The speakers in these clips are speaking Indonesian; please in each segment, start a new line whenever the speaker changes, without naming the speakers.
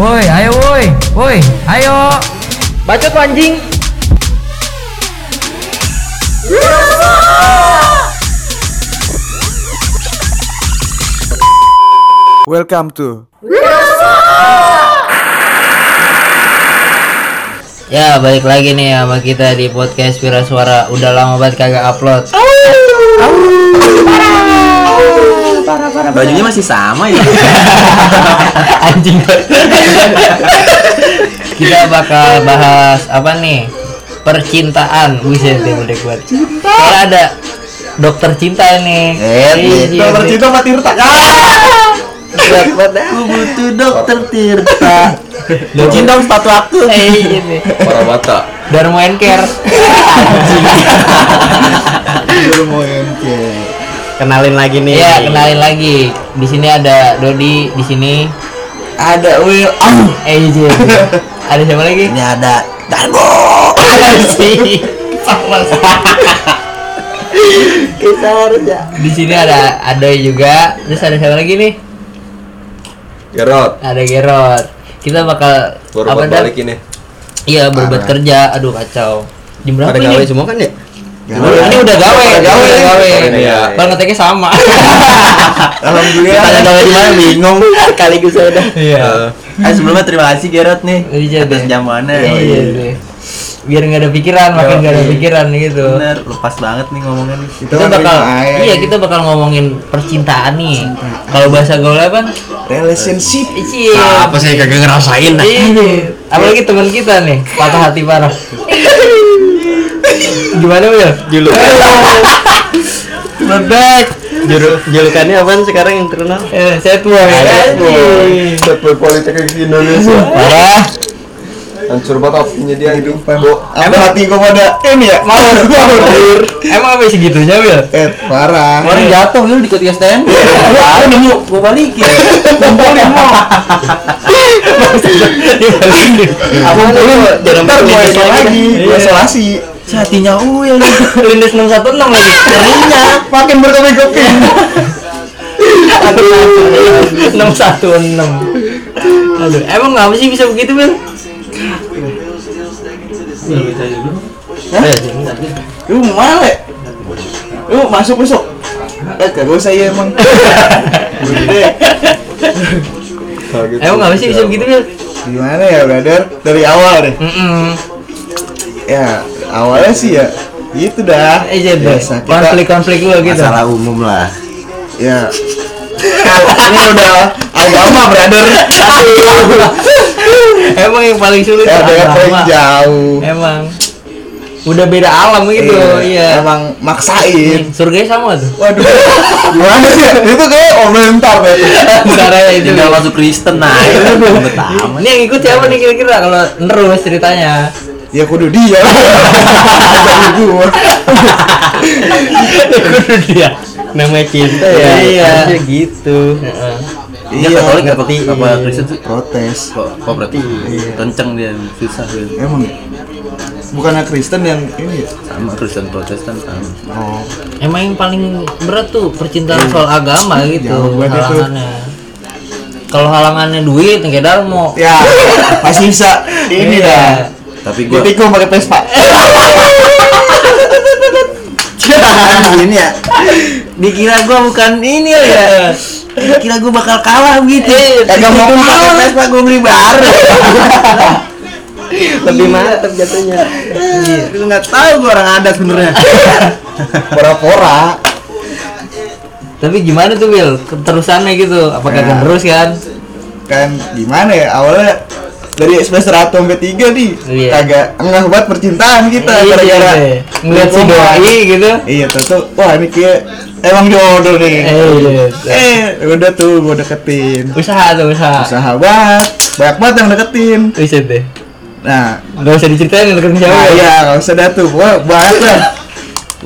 Woi, ayo woi. Woi, ayo.
Bacot lu anjing.
Welcome to
Ya balik lagi nih sama kita di podcast Wira Suara Udah lama banget kagak upload
Bajunya masih sama ya.
Anjing Kita bakal bahas apa nih Percintaan Buset ya udah buat Soalnya ada dokter cinta nih Iya,
Eh, Dokter
iya.
Cinta sama Tirta.
Gila banget ah. dah.
Aku butuh dokter Tirta. Cinta sama sepatu aku.
Eh, ini.
Para bata.
Darmo and Care
Kenalin lagi nih.
Iya kenalin lagi di sini ada Dodi di sini
Ada Will. Ah.
Eh iya. ada siapa lagi
Ini ada Dargo.
sih
Kita harus ya.
di sini ada Adoy juga terus ada siapa lagi nih
Gerot,
ada Gerot kita bakal
baru buat
dah?
balik ya? Ah. ini.
iya berbuat kerja aduh kacau jam berapa
Pada
ini
gawe semua kan ya?
ini udah gawe
Pada gawe.
gawe gawe
Iya.
Padahal ngeteknya sama
Alhamdulillah.
Kita gawe di mana
Iya,
bingung. Kali gue udah.
Eh,
Ya.
Eh sebelumnya terima kasih Gerot nih.
Iya,
Atas Oh,
deh.
jamuannya.
Iya, iya, iya. biar nggak ada pikiran makin nggak ada pikiran gitu
Bener, lepas banget nih ngomongnya nih.
Itu
kita
kan
bakal
air.
iya kita bakal ngomongin percintaan nih kalau bahasa gaulnya apa
relationship.
Ici
Apa sih kagak ngerasain?
Ini, apalagi teman kita nih, patah hati parah. Gimana Wil?
Julu. Bebek. Juru
Kan
julukannya apaan sekarang yang terkenal?
Eh, set boy.
Setboy politik Indonesia.
Parah.
Hancur banget opini dia hidup. Bo,
Apa hati gua pada ini ya? Mau
Emang apa segitunya Wil?
Eh, parah.
Kemarin
Iya.
jatuh lu di ketika stand.
Lu nemu
Gua balikin.
aku dulu jangan
Ntar gua
berlindas
isolasi
lagi. Gua
Iya.
isolasi.
Si Hatinya uh, Uil.
Lindes 616 lagi.
Iya, makin berkeping-keping.
616. Aduh, emang ngapa sih bisa begitu Wil?
Lu mau mana? Le? Lu masuk besok. Eh, kagak usah ya emang. Eh,
kaget.
Emang ngapa sih bisa begitu Wil?
Gimana ya, brother? Dari awal deh.
Mm-mm.
Ya, awalnya sih ya gitu dah.
Eh jadi
Biasa, kita-
konflik-konflik lu gitu.
Masalah umum lah.
Ya. Ini udah agama, brother.
Emang yang paling sulit
Ya, ada yang
agama.
paling jauh. Eh,
Emang udah beda alam gitu, iya.
Emang maksain.
Surganya sama tuh.
Waduh. Gimana sih? Itu kayak omelan ntar, Pak.
Caranya ya, itu.
Tinggal masuk Kristen nah. Betama.
Ini yang ikut siapa nih kira-kira kalau nerus ceritanya?
Ya kudu dia. lah. Dari gua. Iya.
dia. Namanya cinta ya. Iya. gitu.
Iya, Katolik apa apa Kristen tuh?
Protes.
Kok kok berarti kenceng dia susah dia.
Emang ya? bukannya Kristen yang ini ya?
Sama Kristen Protestan sama.
Oh,
Emang yang paling berat tuh percintaan soal agama gitu
Iya, Jauh banget itu.
halangannya. Kalau halangannya duit kayak Darmo.
ya masih bisa ini dah.
Iya.
Tapi gua
Ditikung pakai Vespa. ini ya.
dikira gua bukan ini ya. Dikira gua bakal kalah gitu.
Iya,
Kagak Eh, mau pakai Vespa gua beli baru.
Lebih mantap jatuhnya.
Iya. Lu enggak tahu gua orang adat sebenarnya.
Pora-pora.
Tapi gimana tuh Will? Keterusannya gitu. Apakah
Ya.
terus kan?
kan gimana ya awalnya dari semester 1 sampai 3 nih
Iya.
kagak engah buat percintaan kita
Iya,
Nah, gara-gara
iya. ngeliat si doi gitu.
iya tentu wah ini kayak emang jodoh nih
Eh, iya.
eh udah tuh gua deketin
usaha tuh usaha.
usaha banget banyak banget yang deketin
Usaha deh.
nah
Gak usah diceritain deketin siapa.
nah
ya.
iya nggak usah dah tuh gua banyak lah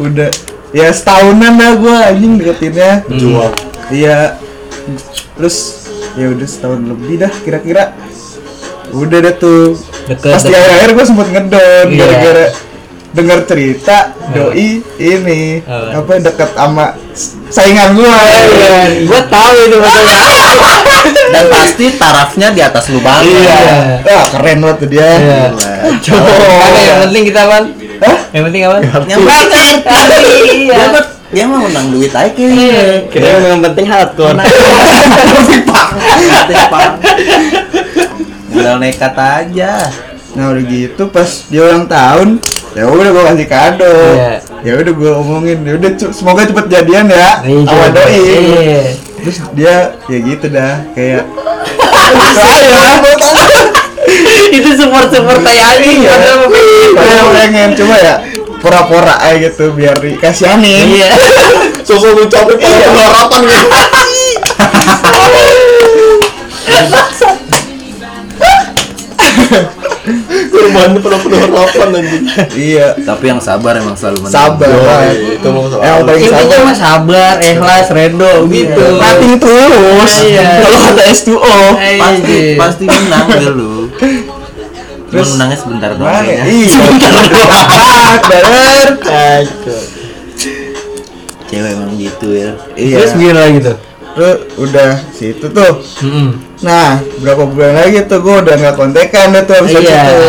udah ya setahunan dah gua anjing deketinnya
Jual.
Iya. Terus ya udah setahun lebih dah kira-kira. Udah deh tuh.
Deket,
Pas di
deket.
akhir-akhir gue sempet ngedon
Iya.
gara-gara dengar cerita doi ini
Apa?
apa deket sama saingan gua
Iya.
Gue tahu itu maksudnya.
Dan pasti tarafnya di atas lu banget.
iya Wah, keren banget tuh dia
Iya. ya,
Cowok.
Karena yang penting kita kan
Yang penting apa?
Yang penting Dia mah- Dia mah menang duit aja
Iya.
kayaknya.
kita yang penting hardcore.
Nah. Lebih pang. Lebih pang. Tinggal nekat aja.
nah udah gitu pas dia ulang tahun ya udah gua kasih kado
Iya.
ya udah gua omongin ya udah cu- semoga cepet jadian ya sama doi
Iya.
terus dia ya gitu dah kayak
itu support support kayak anjing.
Iya.
padahal-
kayak pengen coba ya pura-pura aja gitu biar dikasihanin
Iya.
Sosok lu capek pada pengharapan gitu. Kurbannya pada pengharapan anjing.
iya
Tapi yang sabar emang selalu menang.
sabar banget
Itu mau
Eh, yang paling
Intinya
sabar Iya.
mah sabar, ikhlas, rendo gitu.
mati terus
Iya.
kalau ada S2O
Pasti
Iya.
pasti menang deh lu. Cuma menangnya sebentar doang.
Mana?
kayaknya.
Iya. Bakat, bener.
Cewek emang gitu ya.
Iya.
Terus gila gitu.
Terus udah situ tuh.
Mm-mm.
Nah, berapa bulan lagi tuh gue udah nggak kontekan deh tuh abis
Iya.
itu.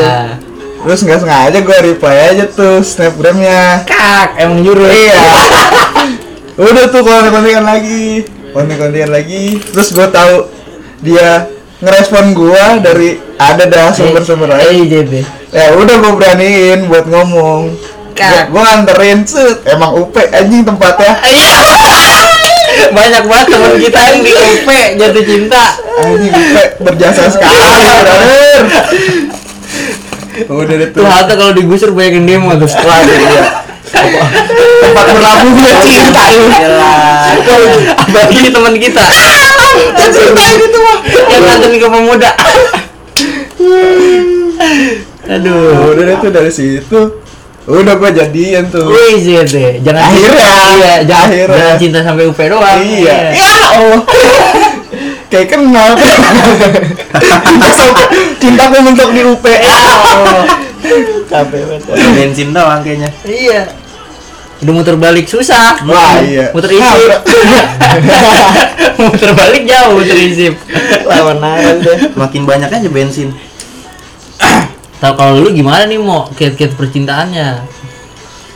Terus nggak sengaja gue reply aja tuh snapgramnya.
Kak, emang nyuruh.
Iya. udah tuh kontek kontekan lagi, kontek kontekan lagi. Terus gue tahu dia ngerespon gue dari ada dah sumber-sumber lain.
Iya, jadi.
Ya udah gue beraniin buat ngomong
Kak.
Gue anterin set Emang UP anjing ya. tempatnya
Iya. Banyak banget teman kita yang di UP jatuh cinta.
Anjing UP berjasa sekali brother Udah deh
Tuh
tuh
halte kalau digusur banyak yang demo tuh setelah itu dia.
Tempat ya. berlabuhnya cinta ini
Apalagi teman kita. Cinta ini tuh mah. Yang nganterin ke pemuda. Aduh.
Udah deh tuh dari situ Udah gue jadian tuh
Wih, jadi jangan
Akhirnya.
Iya, jangan,
Akhirnya.
jangan cinta sampai UP doang.
Iya Ya Allah Kayak kenal Cinta sampai- Cintaku mentok di UP
Udah bensin doang kayaknya.
Iya. Udah muter balik susah.
Wah iya
Muter isip. muter balik jauh, muter isip.
Iya. Lawan aja deh.
Makin banyak aja bensin.
Tahu kalau lu gimana nih mau kiat-kiat percintaannya?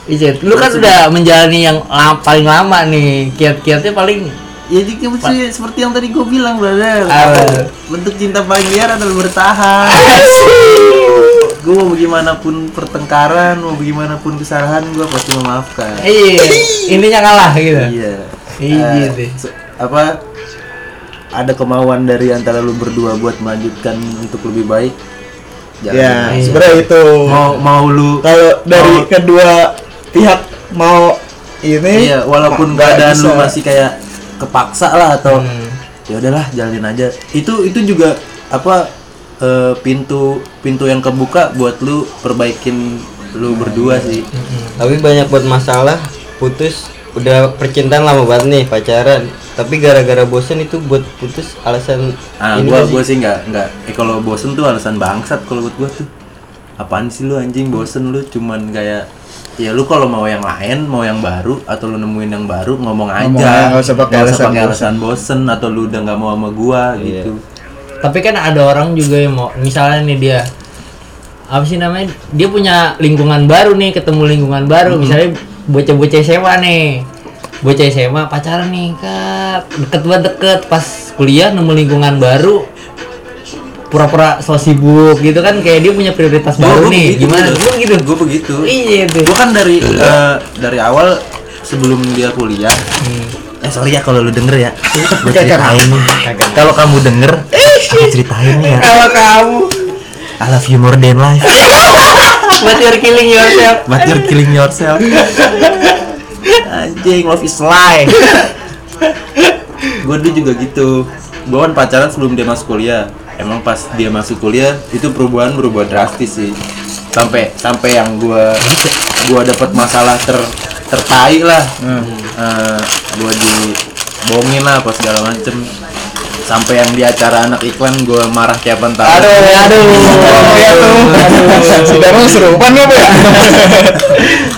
Ijit, lu
Iya,
kan udah menjalani yang la- paling lama nih. Kiat-kiatnya paling
Ya jadi kayak mesti seperti yang tadi gue bilang, brother.
Apa?
Bentuk cinta paling liar adalah bertahan. gue mau bagaimanapun pertengkaran, mau bagaimanapun kesalahan, gue pasti memaafkan.
Iya, intinya kalah gitu.
Iya.
Iya
Ah.
deh.
So- apa? Ada kemauan dari antara lu berdua buat melanjutkan untuk lebih baik.
Ya
Iya.
sebenernya itu
Mau mau lu
kalau dari
Mau-
kedua pihak mau ini
Iya,
Eh,
walaupun
nggak
keadaan lu
bisa.
masih kayak kepaksa lah atau
Hmm.
ya udahlah jalanin aja. Itu itu juga apa eh, pintu pintu yang kebuka buat lu perbaikin lu berdua
Hmm.
sih.
Tapi banyak buat masalah putus udah percintaan lama banget nih pacaran tapi gara-gara bosen itu buat putus alasan
Ah,
ini gak
gua
sih?
gua sih nggak nggak. Eh kalau bosen tuh alasan bangsat kalau buat gua tuh. Apaan sih lu anjing bosen lu cuman kayak ya lu kalau mau yang lain mau yang baru atau lu nemuin yang baru ngomong aja
Ngomong aja, nggak usah pakai
Nggak
alasan
pakai
bosen. Iya.
alasan bosen atau lu udah nggak mau sama gua gitu
Tapi kan ada orang juga yang mau misalnya nih dia apa sih namanya? Dia punya lingkungan baru nih, ketemu lingkungan baru. Misalnya bocah-bocah SMA nih. Bocah SMA pacaran nih, Kak. Deket banget deket pas kuliah nemu lingkungan baru pura-pura so sibuk gitu kan kayak dia punya prioritas baru
Gua- gua
nih.
begitu,
Gimana?
brother.
Lu gitu.
Gua begitu.
Iya tuh.
Gua kan dari eh, dari awal sebelum dia kuliah.
Hmm.
Eh sorry ya kalau lu denger ya. Gua ceritain. Kalau kamu denger, aku ceritain ya. Kalau kamu I love you more than life.
But you're killing yourself.
But you're killing yourself. Anjing, love is lie. gue dulu juga gitu. Gue kan pacaran sebelum dia masuk kuliah. Emang pas dia masuk kuliah itu perubahan berubah drastis sih. Sampai sampai yang gua gua dapat masalah ter Hmm. tertai lah. Eh, gua dibohongin lah apa segala macem sampai yang di acara anak iklan gue marah tiap tahun
Aduh, aduh. Iya tuh. Sudah mau serupan apa ya?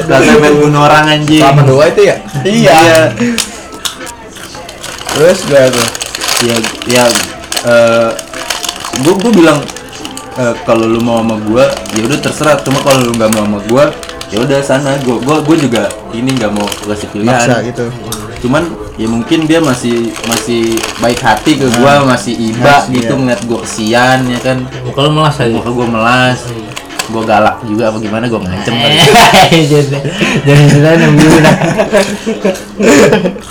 Rasanya main bunuh orang anjing
dua itu ya
Iya. Terus udah tuh.
ya ya gue gue bilang eh, kalau lu mau sama gue ya udah terserah cuma kalau lu nggak mau sama gue ya udah sana gue gue juga ini nggak mau kasih pilihan
Maksa gitu.
cuman ya mungkin dia masih masih baik hati ke gue masih iba
Hmm. Masih,
gitu
iya.
ngeliat gue kesian ya kan
Muka lu melas aja.
muka gue melas gue galak juga apa gimana gue ngancem kali
Eh.
Eh, Jadi sudah enam dah.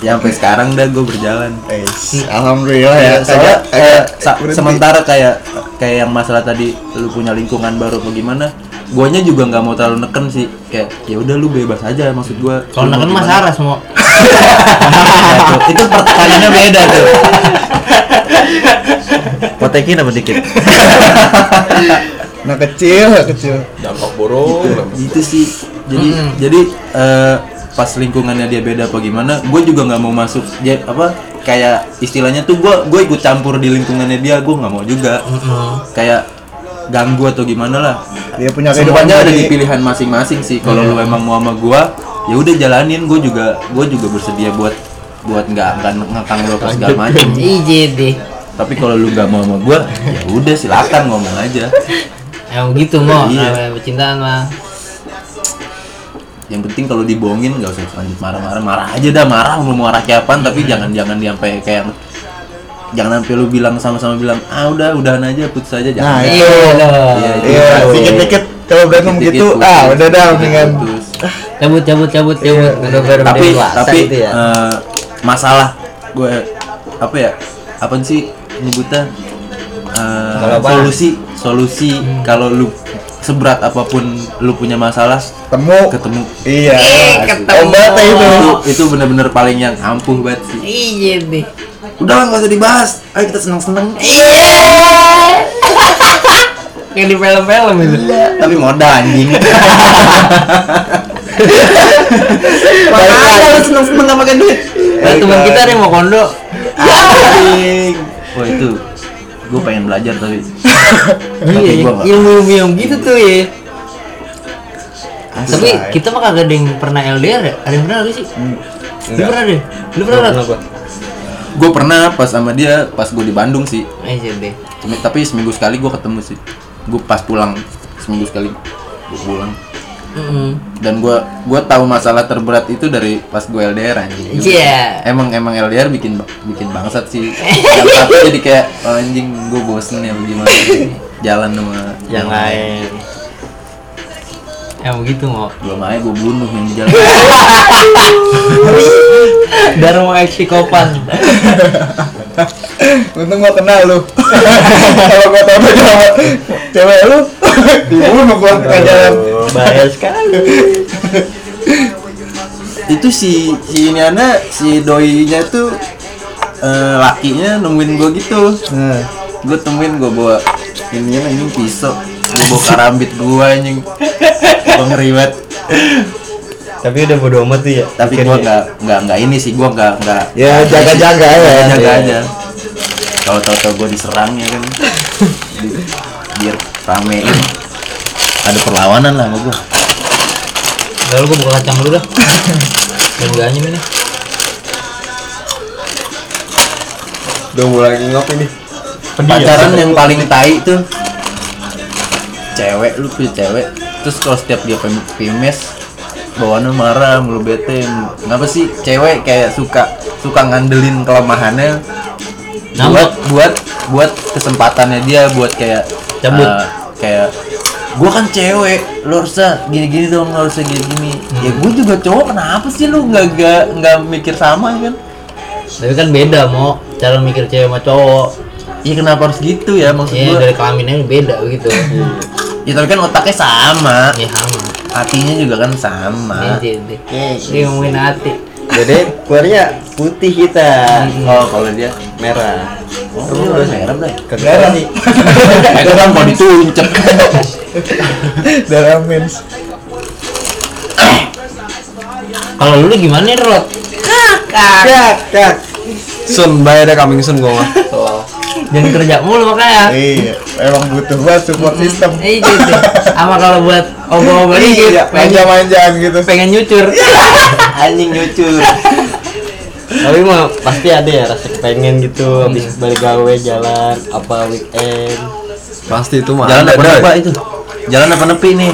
ya sampai sekarang dah gue berjalan
Eish, Alhamdulillah ya.
Eh, kayak
Soalnya
kayak- kayak sa-
berhenti.
sementara kayak kayak yang masalah tadi lu punya lingkungan baru apa gimana guanya juga nggak mau terlalu neken sih kayak ya udah lu bebas aja maksud gua
Kalau
Lu mau
neken mas
gimana?"
Aras mau.
Ya, tuh. itu pertanyaannya beda tuh potekin apa dikit
Nah kecil, nah kecil.
dampak buruk
gitu sih jadi
Mm-mm.
jadi eh, pas lingkungannya dia beda apa gimana gue juga nggak mau masuk dia apa kayak istilahnya tuh gue gue ikut campur di lingkungannya dia gue nggak mau juga
Mm.
kayak ganggu atau gimana lah
Dia punya kehidupan
semuanya Nah, ada
sendiri.
di pilihan masing-masing sih kalau
Iya.
lu emang mau sama gue ya udah jalanin gue juga gue juga bersedia buat buat nggak nggak ngekang lu apa segala macem
IJD.
tapi kalau lu nggak mau sama gue ya udah silakan ngomong aja
Emang gitu mau.
Iya.
Namanya percintaan mah.
yang penting kalau dibohongin nggak usah lanjut marah-marah marah aja dah marah mau marah kapan tapi
Iya.
jangan jangan sampai kayak jangan sampai lu bilang sama-sama bilang ah udah udahan aja putus aja
Nah,
jangan
itu.
loh.
Iya,
Iya,
Aduh.
dikit-dikit kalau berantem
Dikit-dikit
gitu,
putus,
ah udah dah
dikit-dikit
mendingan
putus.
Cabut cabut cabut cabut.
Udah baru
Iya. tapi
udah dewasa
tapi
gitu ya.
eh, masalah gue apa ya apa sih nyebutnya Eh,
Kalau apa?
solusi solusi kalau lu seberat apapun lu punya masalah
temu.
ketemu
Iya.
Eh, ketemu.
Obatnya itu.
itu itu bener-bener paling yang ampuh banget sih
IJD.
udah lah nggak usah dibahas ayo kita seneng seneng
Kayak di film-film itu.
tapi modal anjing
Baik-baik.
Makanya lu seneng seneng gak pakai duit
Nah,
Iya.
teman kita ada yang mau kondo.
anjing wah itu gue pengen belajar tapi tapi
Iya,
gue gak
ilmu ilmu gitu tuh ya.
Asli.
Tapi
ya.
kita mah kagak ada yang pernah LDR ya? Ada yang pernah gak sih?
Hmm.
Lu
Enggak.
pernah deh? Lu pernah
Kenapa?
gak?
gue pernah pas sama dia pas gue di Bandung sih
IJD.
Cuma- tapi seminggu sekali gue ketemu sih gue pas pulang seminggu sekali gue pulang
Mm-mm.
dan gue gua tahu masalah terberat itu dari pas gue LDR anjing
Iya.
emang emang LDR bikin bikin bangsat sih Yang satu jadi kayak "Oh, anjing gue bosen ya gimana ini. jalan sama
Yang lain.
Emang gitu mau.
belum aja gue bunuh yang di jalan
Darmo X psikopat.
Untung gua kenal lu. Kalau gua tahu aja sama cewek lu dibunuh gua
Iya,
ke jalan.
Bahaya sekali.
itu si si ini anak si doinya tuh eh, lakinya nemuin gue gitu
Nah,
gue temuin gue bawa ini anjing pisau gue bawa karambit gue anjing gue ngeri banget
Tapi udah bodo amat tuh ya.
tapi gue nggak nggak nggak ini sih gue nggak nggak
ya jaga-jaga ya.
jaga aja kalau tau-tau gue diserang ya kan Di- biar ramein ada perlawanan lah sama gue
Lalu gue buka kacang dulu dah. Dan gak anjing ini.
udah mulai ngap ini
pacaran
Iya.
yang paling tai tuh cewek lu punya cewek terus kalau setiap dia pem- pimes bawaannya marah mulu bete mulu. kenapa sih cewek kayak suka suka ngandelin kelemahannya
Ngambek.
buat buat buat kesempatannya dia buat kayak
Cabut.
eh, kayak gua kan cewek lu harusnya gini-gini dong lu harusnya gini-gini ya
Hmm.
gua juga cowok kenapa sih lu nggak nggak nggak mikir sama kan
Tapi kan beda mau cara mikir cewek sama cowok.
Iya kenapa harus gitu ya maksud
Iya
gua
dari kelaminnya beda gitu.
Hmm.
ya tapi kan otaknya sama
Iya sama.
hatinya juga kan
Ah.
sama
IJD. Ini ngomongin hati.
Jadi keluarnya putih kita.
oh kalau dia
Merah.
oh dia warna merah Bray.
Kagak sih.
Eh, itu kan mau dituncep
Darah mens.
Kalau lu gimana nih Rod?
Kak, kak.
soon bye deh coming soon gue mah
jangan kerja mulu makanya
Iya, emang butuh banget support
Hmm.
system.
eh
Iya,
gitu sama kalau buat obat-obat dikit
Iya,
pengen,
manja-manjaan gitu.
pengen nyucur
anjing nyucur tapi mah pasti ada ya rasa kepengen gitu habis balik gawe jalan apa weekend
Pasti itu mah.
Jalan
ada,
apa
Doi.
nepi itu? Jalan apa nepi nih?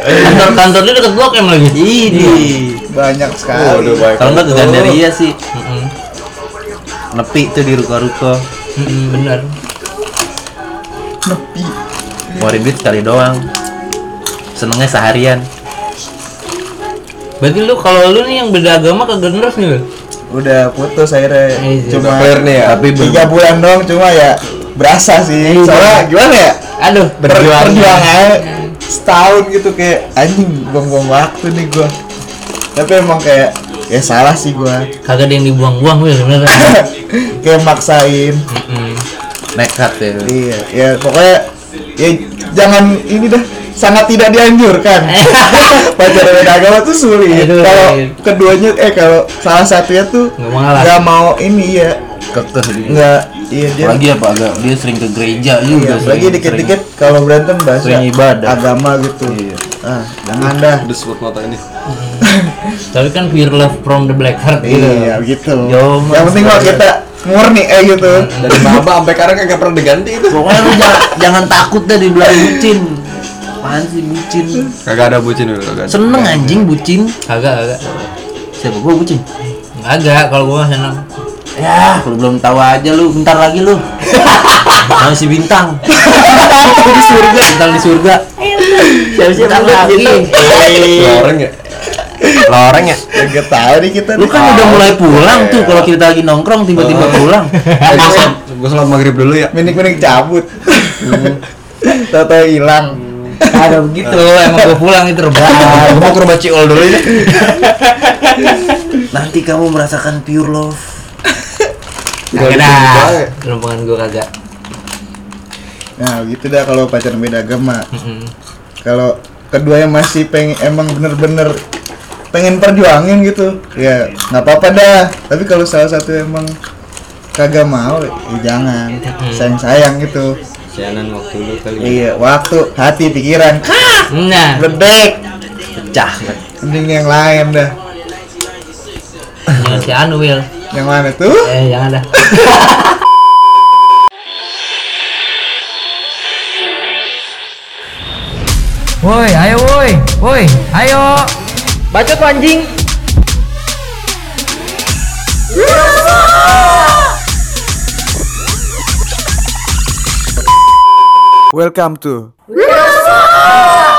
kantor kantornya deket blok M lagi Iya.
Idi.
Banyak sekali.
Waduh, baik.
Kalau enggak ke Gandaria sih.
Mm-mm.
Nepi tuh di ruko-ruko.
Mm-mm, bener
Nepi.
Ngeluarin duit sekali doang. Senengnya seharian.
berarti lu kalau lu nih yang beda agama kagak terus nih lu
Udah putus akhirnya.
Iya,
Cuma
Clear nih ya. Tapi
tiga bulan doang cuma ya
Iya,
berasa sih. Soalnya gimana ya?
aduh
Berjuang. Berjuang aja. Setahun gitu kayak anjing buang-buang waktu nih gua. Tapi emang kayak ya salah sih gua.
kagak ada yang dibuang-buang Wil, Hmm. bener
kayak maksain.
Mm-mm.
Nekat ya.
Iya, ya pokoknya ya jangan ini dah sangat tidak dianjurkan. Pacaran beda agama tuh sulit.
Aduh,
Kalau
iya.
keduanya eh kalau salah satunya tuh
Nggak mau ngalah.
nggak mau ini ya,
Kekeh dia.
nggak iya dia.
Lagi apa agak dia sering ke gereja
Iya,
juga. sering-
lagi dikit-dikit kalau berantem bahas
sering ibadah.
agama gitu.
Iya.
Ah, jangan dah.
Udah sebut mata ini.
tapi kan fear love from the black heart
Iya, gitu.
Yo,
Yang penting kalau kita murni eh gitu.
Dari Baba sampai sekarang kagak pernah diganti itu.
Pokoknya lu jangan, jangan takut deh dibilang bucin. Apaan sih bucin?
Kagak ada bucin dulu, kagak. ada.
Seneng anjing bucin.
kagak kagak
Siapa gua bucin?
kagak kalau gua mah senang
Ya, kalau belum tahu aja lu bentar lagi lu. Masih bintang. di surga, bintang di surga. Siapa sih bintang lagi?
Dua orang ya.
Loreng ya. Iya.
Gak tahu nih kita.
Lu
nih.
kan udah mulai pulang tuh kalau kita lagi nongkrong tiba-tiba pulang.
Eh, gua sholat- Gua sholat maghrib dulu ya.
minik-minik cabut. Tahu-tahu hilang.
ada begitu emang gua pulang itu rebahan
Ah, Gua mau ke rumah Ciol dulu ya.
Nanti kamu merasakan pure love.
kagak dah rombongan gua kagak
Nah gitu dah kalau pacaran beda agama
Mm-mm.
Kalau kedua yang masih pengen emang bener-bener pengen perjuangin gitu Ya nggak apa-apa dah Tapi kalau salah satu emang kagak mau ya jangan Sayang-sayang gitu
sianan waktu lu kali
Iya waktu, hati, pikiran Kah!
nah
Ledek
Pecah.
Mending yang lain dah
jangan si Anu Wil
Yang mana tuh?
eh jangan dah
Woi, ayo woi. Woi, ayo.
bacot lu, anjing
Welcome to